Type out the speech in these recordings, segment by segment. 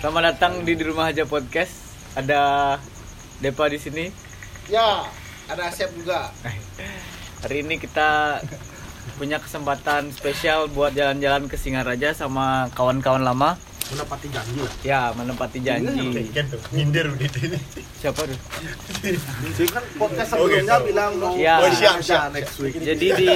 Selamat datang di di rumah aja podcast. Ada Depa di sini. Ya, ada Asep juga. Hari ini kita punya kesempatan spesial buat jalan-jalan ke Singaraja sama kawan-kawan lama. menepati janji lah Ya menempati janji. Kayak tuh nyindir begitu ini Siapa tuh? sih kan Podcast Oh, sebelumnya gitu. bilang no Ya. Oh, ada siap, siap, next week. Jadi di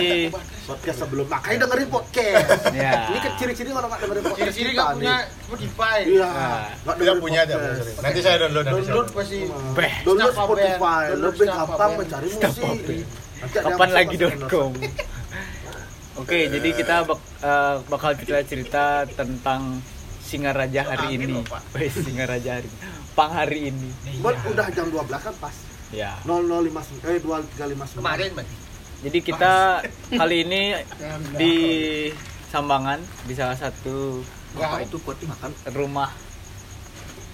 podcast sebelum Makanya dengerin podcast. Ya. Ini kan ciri-ciri kalau nggak dengerin podcast. Ciri-ciri kita nggak punya nih. Spotify. Iya. Nah, Nggak tidak dengerin punya ada podcast. nanti saya Nah, download nanti saya Download pasti. Beh. Download Snap Spotify Snap lebih Snap gampang Snap mencari Snap musik. kapan lagi .com. Oke, jadi kita bak- eh, bakal kita cerita tentang Singaraja hari ini. Wes, Singaraja hari ini. Pang hari ini. Buat udah jam 12 kan pas. Ya. 0059 eh 2359. Kemarin berarti. Jadi kita kali ini Ya, di Sambangan di salah satu Wow. itu buat dimakan rumah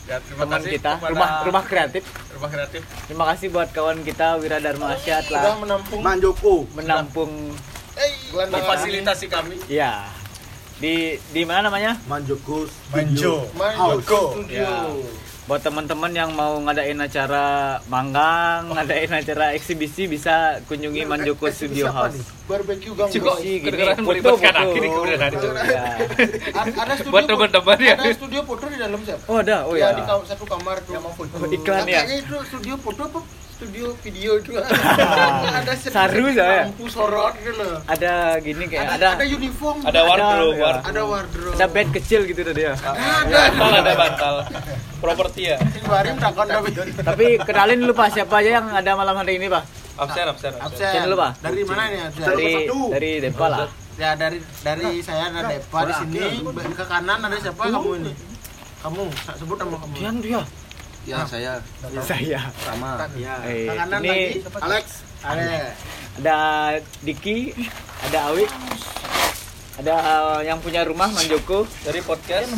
Ya, terima teman kasih kita, kepada rumah rumah kreatif. rumah kreatif Terima kasih buat kawan kita Wiradharma Asya sudah telah menampung Mang Joko. menampung eh fasilitasi kami. ya di di mana namanya? Mang Joko. Studio Manjo House. Joko Studio. buat teman-teman yang mau ngadain acara manggang, ngadain acara eksibisi bisa kunjungi Manjoko Eksibisi Studio apa House. Eh, nih? Barbecue gang. Cukup Boy. sih gini, kedengeran foto melibatkan foto. akhir ini kebenaran itu. Ya. A- Ada studio Buat teman-teman ya. Ada studio foto di dalam siapa? Oh ada, oh ya, ya. di kam- satu kamar tuh. Yang mau foto. Oh, iklan ya? Kayaknya itu studio foto apa? Studio video itu. ada set- Saru saya. Lampu sorot gitu loh. Ada gini kayak Ada, ada ada uniform. ya. Ada wardrobe, ya. wardrobe. Ada wardrobe. ada bed kecil gitu tadi ya. Ada. Bantal ada bantal. Properti ya. Kemarin takon tapi. Tapi kenalin dulu Pak siapa aja yang ada malam hari ini Pak? Absen absen. absen. Absen. Absen dulu, Pak. Dari mana nih absen? Dari satu. dari Depa lah. Ya dari dari saya ada Depa di sini ke kanan ada siapa kamu ini? Kamu sa- sebut nama kamu. Dian dia. ya saya Saya. sama Ya. Eh, Ke kanan ini lagi Alex. ada ada Diki, ada Awik, ada eh, yang punya rumah Manjoko. Dari podcast.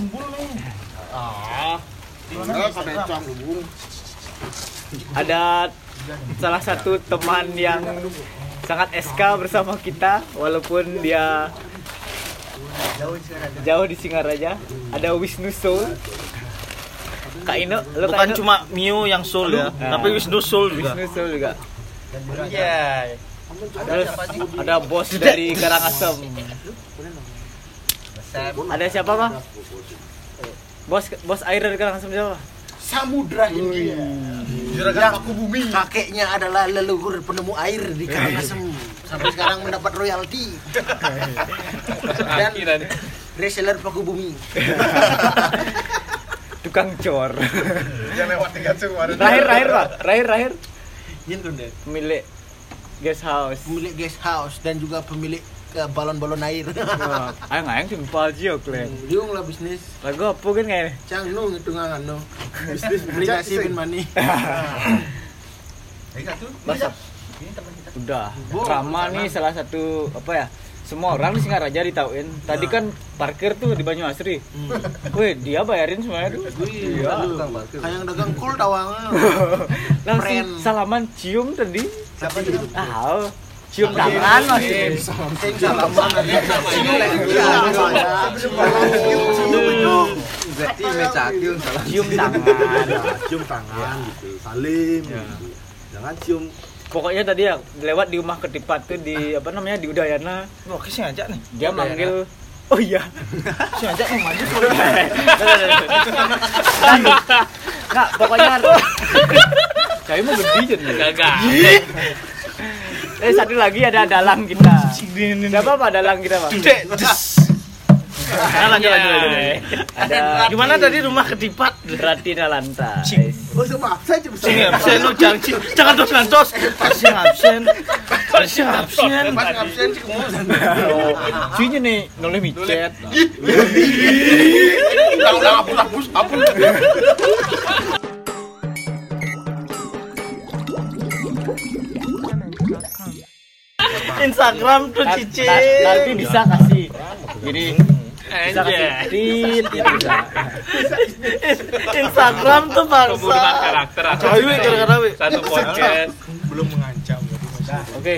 Eh, pada jam lu. ada salah satu teman yang sangat SK bersama kita walaupun dia jauh di Singaraja ada Wisnu Soul Kak Ino lo Kak Bukan Ino? cuma Mio yang soul ya, Nah. tapi Wisnu soul juga. Wisnu Soul juga Iya. terus ada bos dari Karangasem ada siapa bang bos bos air dari Karangasem siapa Samudra India. Juragan Paku Bumi. Kakeknya adalah leluhur penemu air di Karangasem. Sampai sekarang mendapat royalti Akhiran. reseller Paku Bumi. tukang cor yang lewat tiga tuh kemarin terakhir terakhir pak terakhir terakhir Gitu deh. milik guest house Pemilik guest house dan juga pemilik eh, balon-balon air. Wah, ayang ayang simpel aja Eh. kalian Liung lah bisnis. lagu apa kan kayaknya Cang nu itu nggak nu. Bisnis beli nasi bin mani. Basap. Udah. Rama nih salah satu apa ya? Semua orang di Singaraja ditauin. Tadi kan parkir tuh di Banyu Asri. Weh, dia bayarin semuanya tuh. Iya. Kayak dagang kol tawang. Langsung Keren. salaman cium tadi. Siapa itu? Ah, cium tangan maksudnya. Sing salaman tadi. Iya, soalnya. berarti mecatil salah Cium Iya. tangan. Ya, cium tangan gitu, salim. Ya. gitu. Jangan cium. Pokoknya tadi ya lewat di rumah ketipat tuh di apa namanya di Udayana. Wah, kasih ngajak nih. Dia manggil Oh iya. Ngajak mau maju soul. Enggak, pokoknya Saya mau gede jadi. Gagal. Iya. Eh satu lagi ada dalang kita. Siapa pak dalang kita pak? Dek. des. Nah, lanjut lanjut Iya. lanjut. lanjut. Ada Gimana tadi rumah ketipat? Ratina Lanta. Cing. Oh, maaf, saya cuma Iya, Sing Iya. absen lu jangan cing. Jangan terus ngantos. Kasih absen. Kasih absen. Pas absen sih kamu. Cuinya nih nulis micet. Udah hapus hapus hapus. Instagram tuh Nah, cici. Nah, Nanti bisa kasih. Jadi bisa kasih nah. Anjay. tit gitu bisa. Instagram tuh bangsa. Pembunuhan karakter. Ayo, gara-gara we. Satu podcast. belum mengancam jadi masih Oke.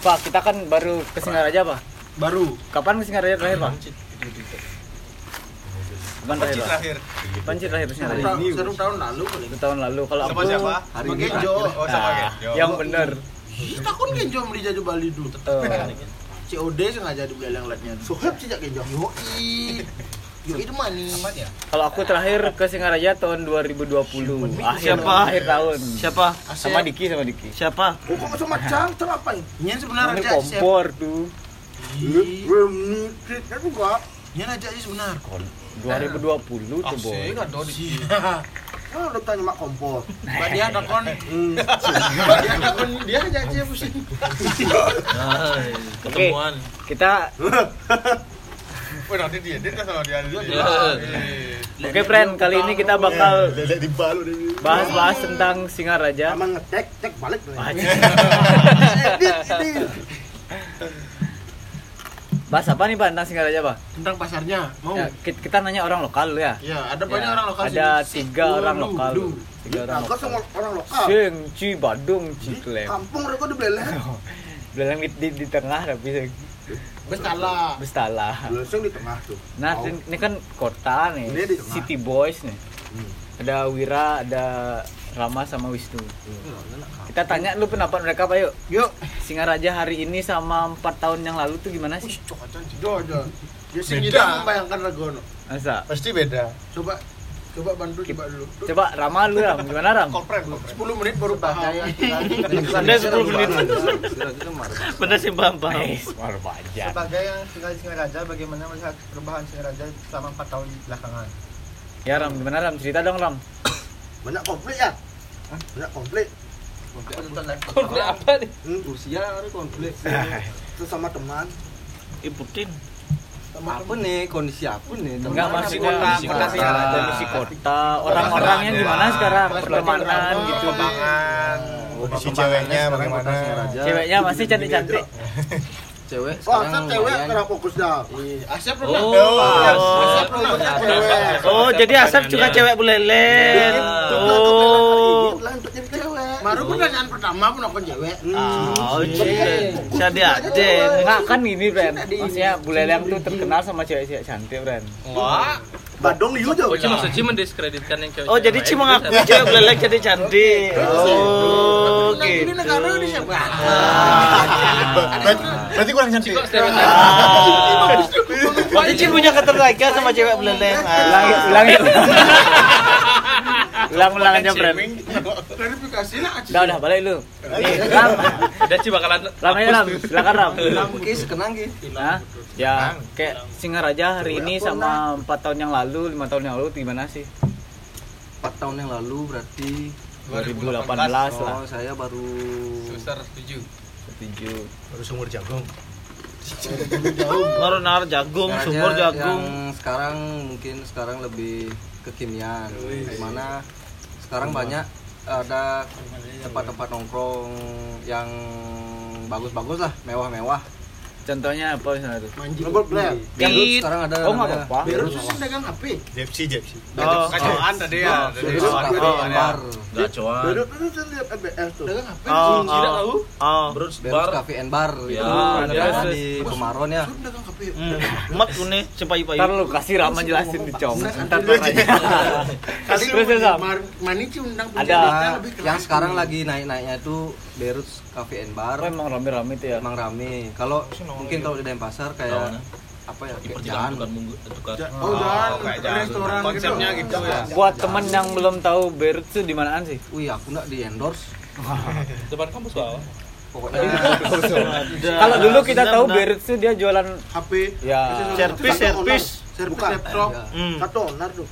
Pak, kita kan baru ke Singaraja, Pak. baru. Kapan ke Singaraja terakhir, Pak? Kapan terakhir? Pak? terakhir. Kapan sih terakhir sih? Tahun- Seru tahun lalu kali. Satu tahun lalu kalau Sama aku siapa? Hari ini Genjo. Oh, sama Ah, Genjo. yang bener. Ih, Takut Genjo beli jaju Bali dulu. Tuh. COD sengaja dibelalang latnya. Sohab sejak Genjo. Yoi. Yoi itu manis. Kalau aku terakhir ke Singaraja tahun 2020. Akhir Siapa? akhir tahun. Siapa? Sama Diki sama Diki. Siapa? Oh, kok sama Cang? Kenapa ini? Nyen sebenarnya Ini aja sih. kompor tuh. Nyen aja sih sebenarnya. 2020 tuh, Boy. Oh, udah tanya mak kompor. Mbak dia ada kon. Mbak dia ada kon. Dia aja sih pusing. Ketemuan. Kita Wih, nanti dia dia kan sama dia. Iya. dia- dia. Oke, friend, kali ini kita Iya. bakal Lelek dibalut ini. bahas-bahas tentang Singaraja. Sama ngetek, cek balik. Lelek. Wah, anjing. Bahas apa nih, Pak, tentang Singaraja, Pak? Tentang pasarnya. Mau. Ya, ki- kita nanya orang lokal dulu ya. Ya, Iya, ada Ya, Oh. banyak orang lokal ada sini. tiga Oh, orang lu, lokal. lu. Tiga orang Aku lokal. Nah, sama orang lokal. Sing, Ci, Badung, Ci, Di Klem. kampung mereka dibelek. Bilang di, di, di tengah tapi sing. Bestala. Bestala. Langsung di tengah tuh. Nah, Mau. ini kan kota nih. Ini di tengah. City Boys nih. Hmm. Ada Wira, ada Rama sama Wisnu. Iya, Kita tanya lu pendapat mereka, Pak, yuk. Yuk. Singaraja hari ini sama empat tahun yang lalu tuh gimana Wih, sih? cocokan sih. Jodoh. Dia sih Beda. tidak membayangkan Regono. Masa? Pasti beda. kan Coba coba bantu coba dulu. Coba Rama lu Ram, gimana Ram? Korpren, korpren. 10 menit baru paham. Anda 10 menit. Benda sih paham paham. Eh, baru banyak. Sebagai yang tinggal di Singaraja, bagaimana melihat perubahan Singaraja selama 4 tahun belakangan? Ya Ram, gimana Ram? Cerita dong Ram. Banyak konflik ya. Banyak konflik. Konflik apa nih? Rusia ada konflik. Terus Eh, sama teman. Ih, Putin. Apa nih kondisi apa nih? Enggak Teman-teman masih aku kota, kondisi kota kota. Singaraja, misi kota. Orang-orangnya gimana sekarang? Pertemanan gitu. Perkembangan. Kondisi Oh, ceweknya bagaimana? Ceweknya masih cantik-cantik. Oh, Cewek sekarang asap cewek lumayan. kena fokus dah. Iya. Asep pernah. Oh. Asep pernah. Cewek. Oh, jadi asap juga cewek bulelet. Nah, Oh. Lah untuk jadi cewek. Baru pertanyaan pertama pun aku cewek. Oh, cie. Saya aden. Enggak kan gini, Ren. Maksudnya Buleleng tuh terkenal sama cewek-cewek cantik, Ren. Wah, Badong liu jauh. oh, Ci maksudnya mendiskreditkan yang cewek. Oh, jadi Ci mengaku cewek bulelet jadi cantik. gitu. Oh, Nah, ini gitu. negara ini Ah. siapa? Berarti berarti kurang cantik. Kok stereotip? Ah. Berarti Ci punya ketertarikan sama cewek bulelet. Nah. Nah, Ulang, ulang. Ulang-ulang aja, Ren. Klarifikasi lah Aci. Udah, udah, balik lu. Nih, Ram. Udah Ci bakalan Oh. Ram aja, Ram. Silakan, Ram. Oke, sekenang Ki. Hah? Ya, kayak Singaraja hari ini sama empat tahun yang lalu, lima tahun yang lalu tuh gimana sih? 4 tahun yang lalu berarti 2018 lah, oh, saya baru setuju. setuju. Baru sumur jagung. Baru nar jagung, Singaraja sumur jagung. yang sekarang mungkin sekarang lebih kekinian. Dimana sekarang banyak ada tempat-tempat nongkrong yang bagus-bagus lah, mewah-mewah. Contohnya apa misalnya tuh? Nomor Iya. black. Yang dulu Tit. sekarang ada Oh nggak namanya- apa-apa. Baru susun dagang HP. Jepsi, Jepsi. Oh, Kacauan tadi ya. tadi. Terus Kacauan, ada kacauan ya. bar, Baru baru saya lihat MBS tuh. Dagang HP. oh, Tidak oh, tahu. oh. Berus Cafe and Bar Ya, itu ada. ada di Kemaron ya. Susun dagang HP. Hmm. Mat ini cepai payu. Ntar lu kasih Rama jelasin di com. Ntar lu aja. Tadi Terus ya, Sam. Mani Ci undang Ada. penjelajah Nah, lebih keren. yang sekarang lagi naik-naiknya itu Berus Cafe and Bar. Oh, emang rame-rame tuh ya. Emang rame. Kalau mungkin kalau di Denpasar kayak apa ya? kayak Jalan. Oh, Ya. kan. dan Oh, kayak jalan. restoran Konsepnya gitu ya. Buat temen yang belum tahu Beirut tuh di manaan sih? Wih, aku nggak di endorse. Depan kampus bawah. Pokoknya Kalau dulu kita Sedap, tahu nah. Beirut tuh dia jualan HP. ya Servis, servis. Servis Bukan. Iya. laptop. Ya. Hmm. Satu onar tuh.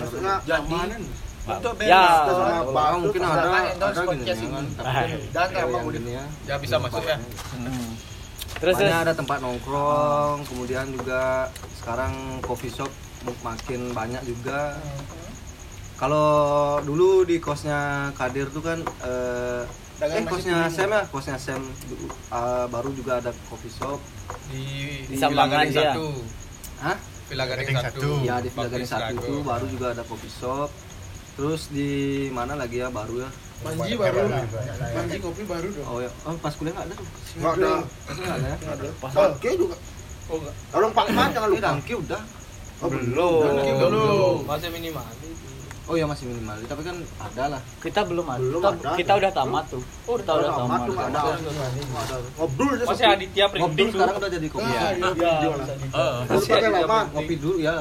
Maksudnya Jadi ya kita sama Nah, Bang, Bang mungkin ada ada gini podcast kan. Dan Tapi emang yang udah gini ya. Ya bisa masuk ya. Hmm. terus Terus terus ada tempat nongkrong, kemudian juga sekarang coffee shop makin banyak juga. Kalau dulu di kosnya Kadir tuh kan eh, Dagang eh nasi kosnya kuning. Sam ya, kosnya Sam du- eh, baru juga ada coffee shop. Di Di Sambangan Villa Gading dia. Satu. Hah? Villa Gading Gading satu. Satu. Ya di Villa Gading Baptis satu itu Dago. baru juga ada coffee shop. Terus di mana lagi ya baru ya? Manji baru lah. Manji kopi baru dong. Oh ya, oh, pas kuliah nggak ada tuh. Enggak ada. Nggak ada ya? Oke juga. Oh, enggak. Orang Pak Mat jangan Tapi lupa. Dangki udah. belum. Belum. Masih minimal. Oh ya masih minimal, tapi kan ada lah. Kita belum ada. Belum kita, ada. kita udah tamat tuh. Oh, kita udah tamat. nggak ada. Nggak ada. Oh, Ngobrol aja Masih sepi. Aditya Ngopi Prinding tuh. sekarang udah jadi kopi. Ah, iya, Ya, video lah. bisa di- Eh, Baru masih pakai Aditya lama. Prinding. Ngopi dulu ya.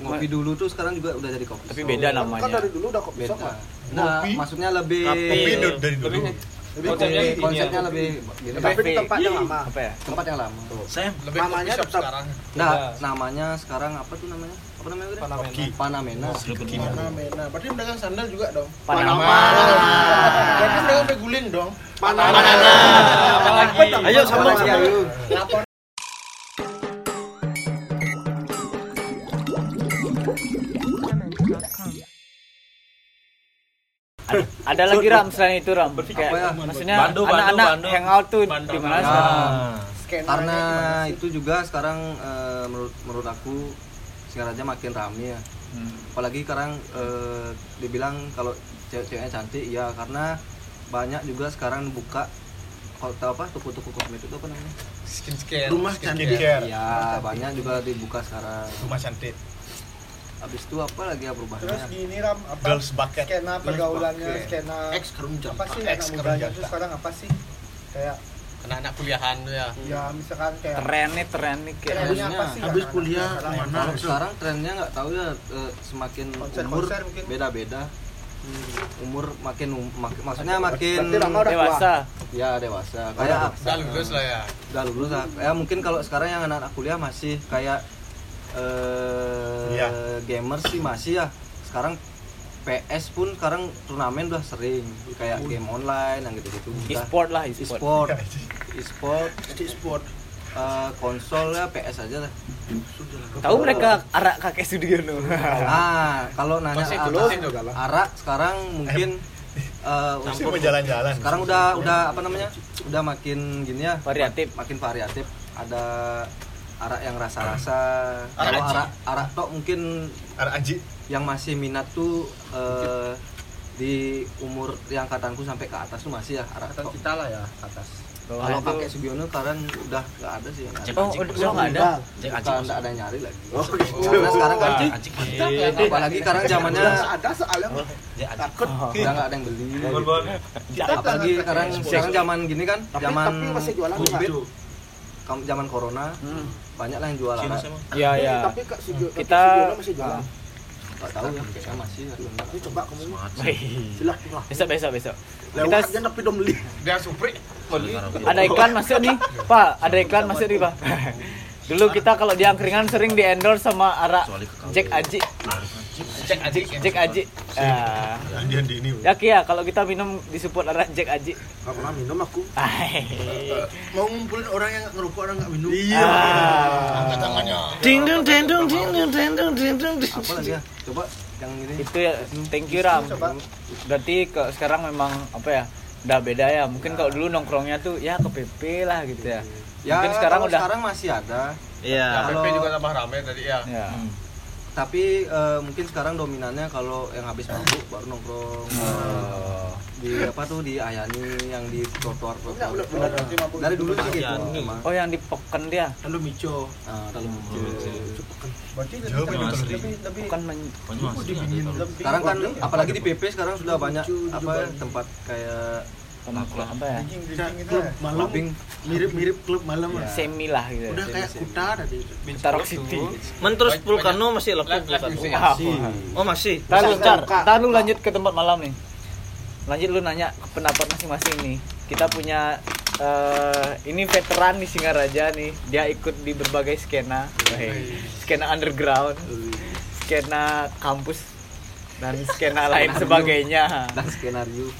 Ngopi dulu tuh sekarang juga udah jadi kopi. Tapi shop. beda Kan namanya. dari dulu udah kopi Beda. shop lah. Nah, Kopi? maksudnya lebih Iya. Kopi dulu dari dulu. Lebih- Lebih kopi. Iya. Konsepnya ini ya. konsepnya lebih gini, Tapi di tempat yang lama. Apa ya? tempat yang lama. Saya Lebih Mamanya kopi shop tetap- sekarang. Nah, namanya sekarang apa tuh namanya? Apa namanya? Bre? Panamena. Koki. Panamena. Mana mena. Berarti pedagang sandal juga dong. Panama. Ah. Berarti pedagang peguling dong. Panama. Apalagi. Ayo sambung Panamena. sambung. Ada, ada lagi Ram selain itu Ram. Kayak, Apa ya? Maksudnya Bandung, Bandung, anak-anak Bandung. hangout tuh Bandung. di mana Ah. Ya, sekarang? karena itu juga sekarang eh, menurut menurut aku Singaraja makin rame ya. Hmm. Apalagi sekarang eh, dibilang kalau cewek-ceweknya cantik ya karena banyak juga sekarang buka kota apa toko-toko kosmetik itu apa namanya? Skin care. Rumah Skin cantik. care. Ya, banyak juga dibuka sekarang. Rumah cantik. Habis itu apa lagi ya Terus perubahannya? gini Ram, apa Girls bucket. skena Girls pergaulannya, bucket. skena Ex kerunjang. apa sih Ex anak mudanya kerja. itu sekarang apa sih? Kayak Anak-anak kuliahan tuh ya. ya misalkan kayak Tren nih, tren nih kayak. trennya apa sih? Habis anak-anak kuliah sekarang? kemana? Kalau sekarang trennya nggak tahu ya eh, semakin Konser- umur konser mungkin. beda-beda. Umur makin um- mak- maksudnya makin Berarti lama udah tua. Dewasa. ya dewasa. Kayak Udah lulus lah ya. udah lulus lah. ya mungkin kalau sekarang yang anak-anak kuliah masih kayak eh Iya. gamer sih masih ya sekarang PS pun sekarang turnamen udah sering kayak game online yang gitu-gitu udah E-sport lah, e-sport. e-sport Iya, e-sport Jadi sport. eh, konsol ya PS aja lah Tahu mereka arak kakek Sudiono. ah kalau nanya Masih arak, belum juga lah. arak sekarang mungkin eh, Masih untuk- mau jalan-jalan. sekarang udah udah apa namanya udah makin gini ya Variatif. mak- makin variatif ada arak yang rasa-rasa Arak kalau aji. arak arak tok mungkin Ada Aji. yang masih minat tuh eh, di umur yang angkatanku sampai ke atas tuh masih ya arak tok kita lah ya atas. Oh, kalau pakai Sugiono sekarang udah nggak ada sih yang ada. Oh, udah udah nggak ada. Bukan, nggak ada yang nyari lagi Oh, gitu. karena sekarang kan Anjing. apalagi sekarang zamannya Ada soalnya takut. Oh. udah nggak ada yang beli Kita apalagi jangan- sekarang sekarang zaman gini kan Tapi- zaman tapi masih jualan nggak? covid kam- zaman corona banyak lah yang jual arak Iya, iya. Tapi Kak Sujo, tapi Kita- Sujono masih jualan. Gak tahu ya, saya masih Ini coba kamu silakan. Besok, besok, besok. Kita Kita tapi dong beli. Dia supri. ada iklan masuk nih pak ada iklan masuk nih pak dulu kita kalau di angkringan sering di endorse sama arak Jack Aji Cek adik. Jack Aji Ah. Dia di ini. ya Ki, ya kalau kita minum disupport arak Jack Aji Gak pernah minum aku. Hai. Mau ngumpulin orang yang nggak ngerokok orang nggak minum. Iya. Ah. Ding dong ding dong ding dong ding dong ding dong ding apa lagi ya coba yang ini itu ya thank you Ram berarti ke sekarang memang apa ya udah beda ya mungkin kalau dulu nongkrongnya tuh ya ke PP lah gitu ya ya mungkin sekarang kalau udah sekarang masih ada Iya. Kalau- PP juga tambah rame tadi ya. ya. tapi eh, mungkin sekarang dominannya kalau yang habis mabuk baru nongkrong eh, di apa tuh di Ayani yang di trotoar trotoar Iya. dari dulu sih gitu emang oh yang di Peken dia Lalu mico. Nah, kalau Berarti lebih Jauh punya lebih teori. lebih lebih bukan men- lebih- sekarang Iya. kan apalagi di PP sekarang sudah banyak apa tempat kayak apa ya daging daging Kayak itu klub ya. malam. clubbing Mirip-mirip klub malam. iya. lah. semi lah gitu Udah kayak kuta tadi. Tarok City Men terus Vulcano masih lepas Live- live music. Wah. Oh masih. Ntar lu, Bisa, ntar, buka. ntar lu lanjut ke tempat malam nih. Lanjut lu nanya pendapat masing-masing nih. Kita punya eh, ini veteran di Singaraja nih. Dia ikut di berbagai skena. Wey. Skena underground, skena kampus dan skena lain sebagainya. dan skenario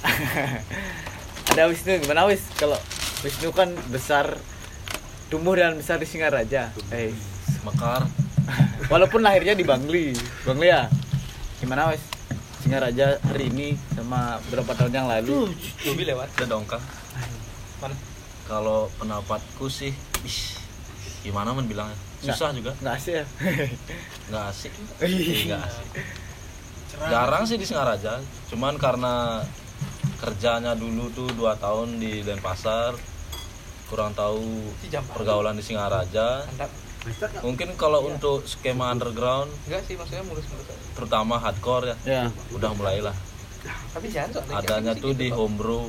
Ada Wisnu gimana Wis? Kalau Wisnu kan besar tumbuh dan besar di Singaraja. Eh, Mekar. Walaupun lahirnya di Bangli. Bangli ya. Gimana wes? Singaraja hari ini sama berapa tahun yang lalu. Bobi lewat. Udah dong Kang. Mana? Kalau pendapatku sih, ish, gimana men bilangnya? Susah juga, Enggak sih ya. nggak asik, Iya, nggak asik. Jarang sih di Singaraja, cuman karena kerjanya dulu tuh dua tahun di Denpasar, kurang tahu Si jam. pergaulan di Singaraja. Mantap. Mungkin Iya. kalau untuk skema underground, Enggak sih maksudnya mulus-mulus aja. terutama hardcore ya, ya udah mulailah. Tapi jangan soalnya Adanya tuh di homebrew,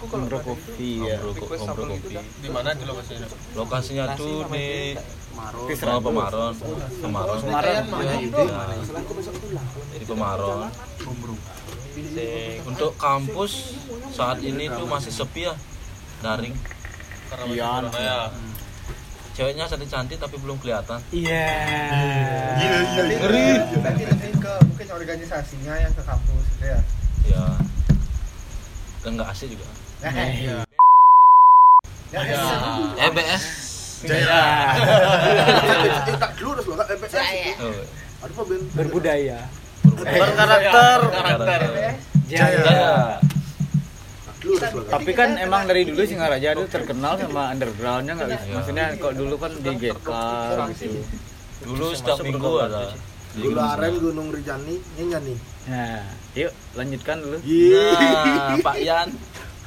Aku kalau Homebrew ada gitu, Coffee ya homebrew, request homebrew sample gitu kopi. dah. Di mana di lokasinya? Lokasinya Nasi tuh sama Oh, di jeruk. Sama Pemaron, Pemaron, Semarang Ya. di Pemaron. Sing. Untuk kampus saat ini tuh masih sepi ya, daring. Karena Iya, masih corona ya. Ceweknya cantik-cantik tapi belum kelihatan. iya Iya. Ngeri. Berarti lebih ke mungkin organisasinya yang ke kampus gitu ya. Ya, dan nggak asik juga. Ah. E EBS. Iya. Iya. tak dulu harus banget MPS. Oh, Aduh, Pak Ben. berbudaya Berkarakter. ya? karakter. jaya Dulu harus banget. tapi kan emang dari dulu Singaraja itu terkenal sama undergroundnya nggak bisa maksudnya kalau dulu kan di GK gitu Dulu setiap minggu ada. gitu. Gula aren Gunung Rinjani, nyanyi nih. nah yuk lanjutkan dulu Iya. Nah, Pak Yan.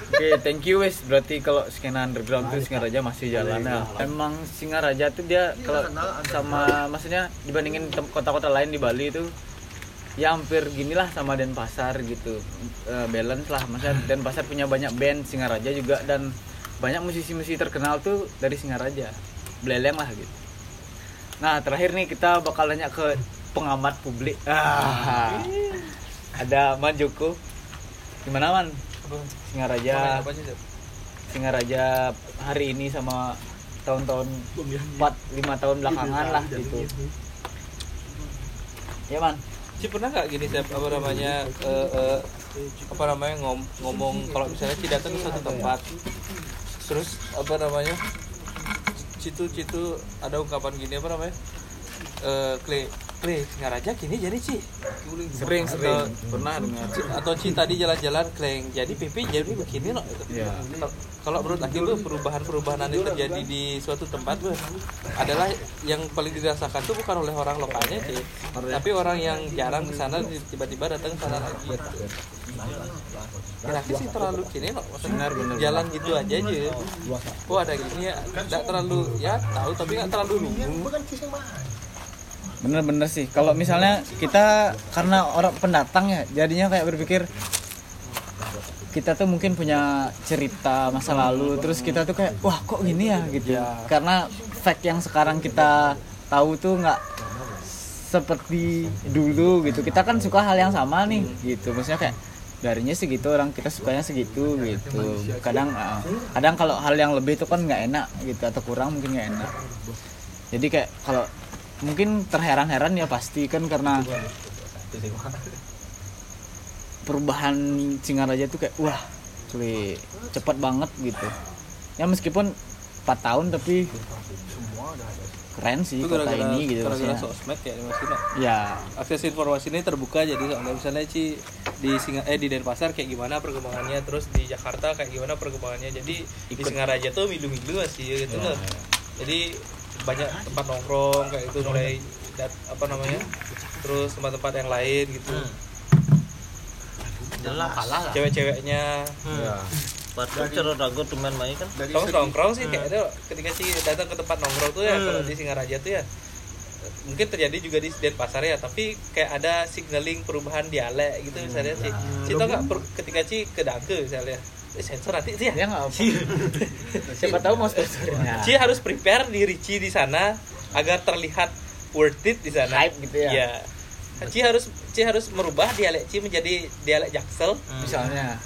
Oke, thank you wes. Berarti kalau skena underground tuh Singaraja masih jalan ya. Emang Singaraja tuh dia kalau sama maksudnya dibandingin tem- kota-kota lain di Bali itu ya hampir ginilah sama Denpasar gitu. Eh, balance lah. Maksudnya Denpasar punya banyak band Singaraja juga dan banyak musisi-musisi terkenal tuh dari Singaraja. Beleleng lah gitu. Nah, terakhir nih kita bakal nanya ke pengamat publik. Ah. Ada Man Joko. Gimana Man? Singaraja. Apa sih, Zep? Singaraja hari ini sama tahun-tahun 4 5 tahun belakangan lah gitu. Ya man, Sih pernah nggak gini Zep, apa namanya eh, eh, apa namanya ngom- ngomong kalau misalnya tidak datang ke satu tempat terus apa namanya citu-citu ada ungkapan gini apa namanya Eh, kle kle Singaraja gini jadi sih sering sering pernah dengar. atau cinta di jalan-jalan kleng jadi pipi jadi begini loh gitu. Ya. Kal- kalau menurut aku tuh perubahan-perubahan yang terjadi di suatu tempat tuh adalah yang paling dirasakan tuh bukan oleh orang lokalnya sih tapi orang yang jarang ke sana tiba-tiba datang ke sana lagi Kira-kira sih terlalu gini loh maksudnya jalan gitu aja aja oh ada gini ya nggak terlalu ya tahu tapi nggak terlalu nunggu Bener-bener sih. Kalau misalnya kita karena orang pendatang ya, jadinya kayak berpikir kita tuh mungkin punya cerita masa lalu terus kita tuh kayak wah kok gini ya gitu karena fact yang sekarang kita tahu tuh nggak seperti dulu gitu kita kan suka hal yang sama nih gitu maksudnya kayak darinya segitu orang kita sukanya segitu gitu kadang ah, kadang kalau hal yang lebih itu kan nggak enak gitu atau kurang mungkin nggak enak jadi kayak kalau mungkin terheran-heran ya pasti kan karena perubahan Singaraja tuh kayak wah kli cepat banget gitu ya meskipun 4 tahun tapi keren sih itu kota gara-gara ini gitu gara-gara maksudnya sosmed ya dimasukin lah. ya akses informasi ini terbuka jadi soalnya misalnya Ci, di Singa eh di Denpasar kayak gimana perkembangannya terus di Jakarta kayak gimana perkembangannya jadi di Singaraja tuh milu-milu sih gitu loh jadi banyak tempat nongkrong kayak itu mulai dat, apa namanya terus tempat-tempat yang lain gitu Jelas. cewek-ceweknya Ya. Batu cerut ragu teman main kan. Tong nongkrong sih Ah. kayaknya ketika sih datang ke tempat nongkrong tuh ya kalau di Singaraja tuh ya eh, mungkin terjadi juga di Denpasar ya tapi kayak ada signaling perubahan dialek gitu Hmm. misalnya sih Nah, sih tau nggak per- ketika sih ke Dangke misalnya eh, sensor nanti sih ya ya nggak Iya. apa siapa tahu mau sponsornya Ci harus prepare diri Ci di sana agar terlihat worth it di sana. Hype gitu ya. Iya. Ci harus Ci harus merubah dialek Ci menjadi dialek Jaksel. Hmm. misalnya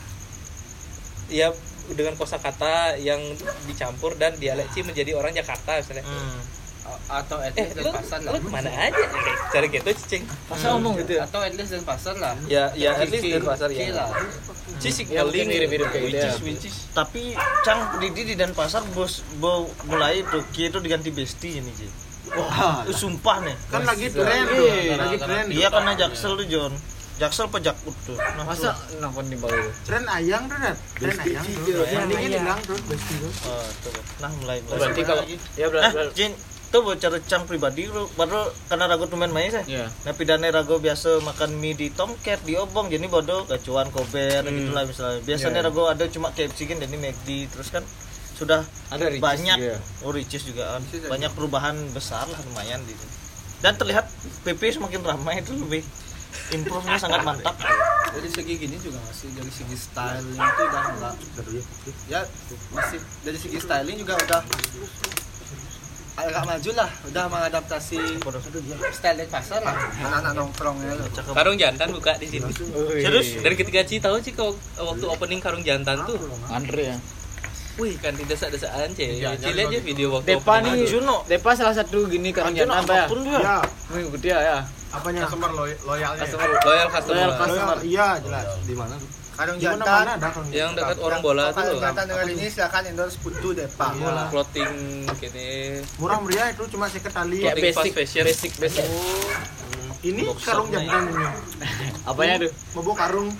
Ya dengan kosakata yang dicampur dan dialek Ci menjadi orang Jakarta misalnya. atau Eh, lu, lu kemana aja? Kayak Cara gitu, cicing. masa ngomong gitu ya atau at least pasar lah Ya, ya, at least Denpasar ya. Ci ya mungkin signaling mirip-mirip kayak gitu ya Tapi Cang Didi di Denpasar bos bo, mulai Doki itu diganti besti ini sih. Wah, sumpah nih. kan lagi tren tuh lagi tren Iya karena Jaksel tuh John. Jaksel pejakut tuh. Nah, masa nelfon di bawah tren ayang tuh Dad. tren ayang tuh bandingin hilang tuh besti tuh tuh. Oh, tuh. Nah, mulai. mulai. berarti kalau ya Nah, berarti Jin, tuh bocor Cang pribadi lu baru karena ragu teman main saya. ya Nah pidana rago biasa makan mie di tomcat di obong jadi Hmm. Iya, bodoh gacuan kober gitu lah misalnya. Biasanya rago ada cuma KFC kan jadi McD terus kan sudah Ada ricis banyak juga. ya? oh ricis juga kan. banyak perubahan besar lah lumayan di sini. dan terlihat PP semakin ramai itu lebih improve-nya sangat mantap dari segi gini juga masih dari segi styling itu udah enggak ya masih dari segi styling juga udah agak maju lah udah mengadaptasi style pasar lah anak-anak ya. nongkrongnya loh Karung jantan buka di sini. Serius? Dan ketika Ci tahu Ci kok waktu opening karung jantan tuh, Andre ya. wih kan tidak desa-desaan Ci. Iya, Ci lihat aja video waktu Depa opening. nih, Depa salah satu gini karena jangan apa ya? apapun dia Iya. ya Mengikuti ya, ya. apanya Customer loy- loyalnya. Customer, loyal customer. Loyal customer. Loyal, iya jelas di mana tuh? Kadang di mana mana jantan. ada kalau gitu? Yang dekat orang bola tuh Kalau loh. jantan dengar ini silakan endorse putu deh pak. Iya. Clothing gini. murah meriah itu cuma seket Iya, tali Kayak Clothing fast basic, fashion. basic, basic. ini karung jantan ini Apanya tuh? mabuk karung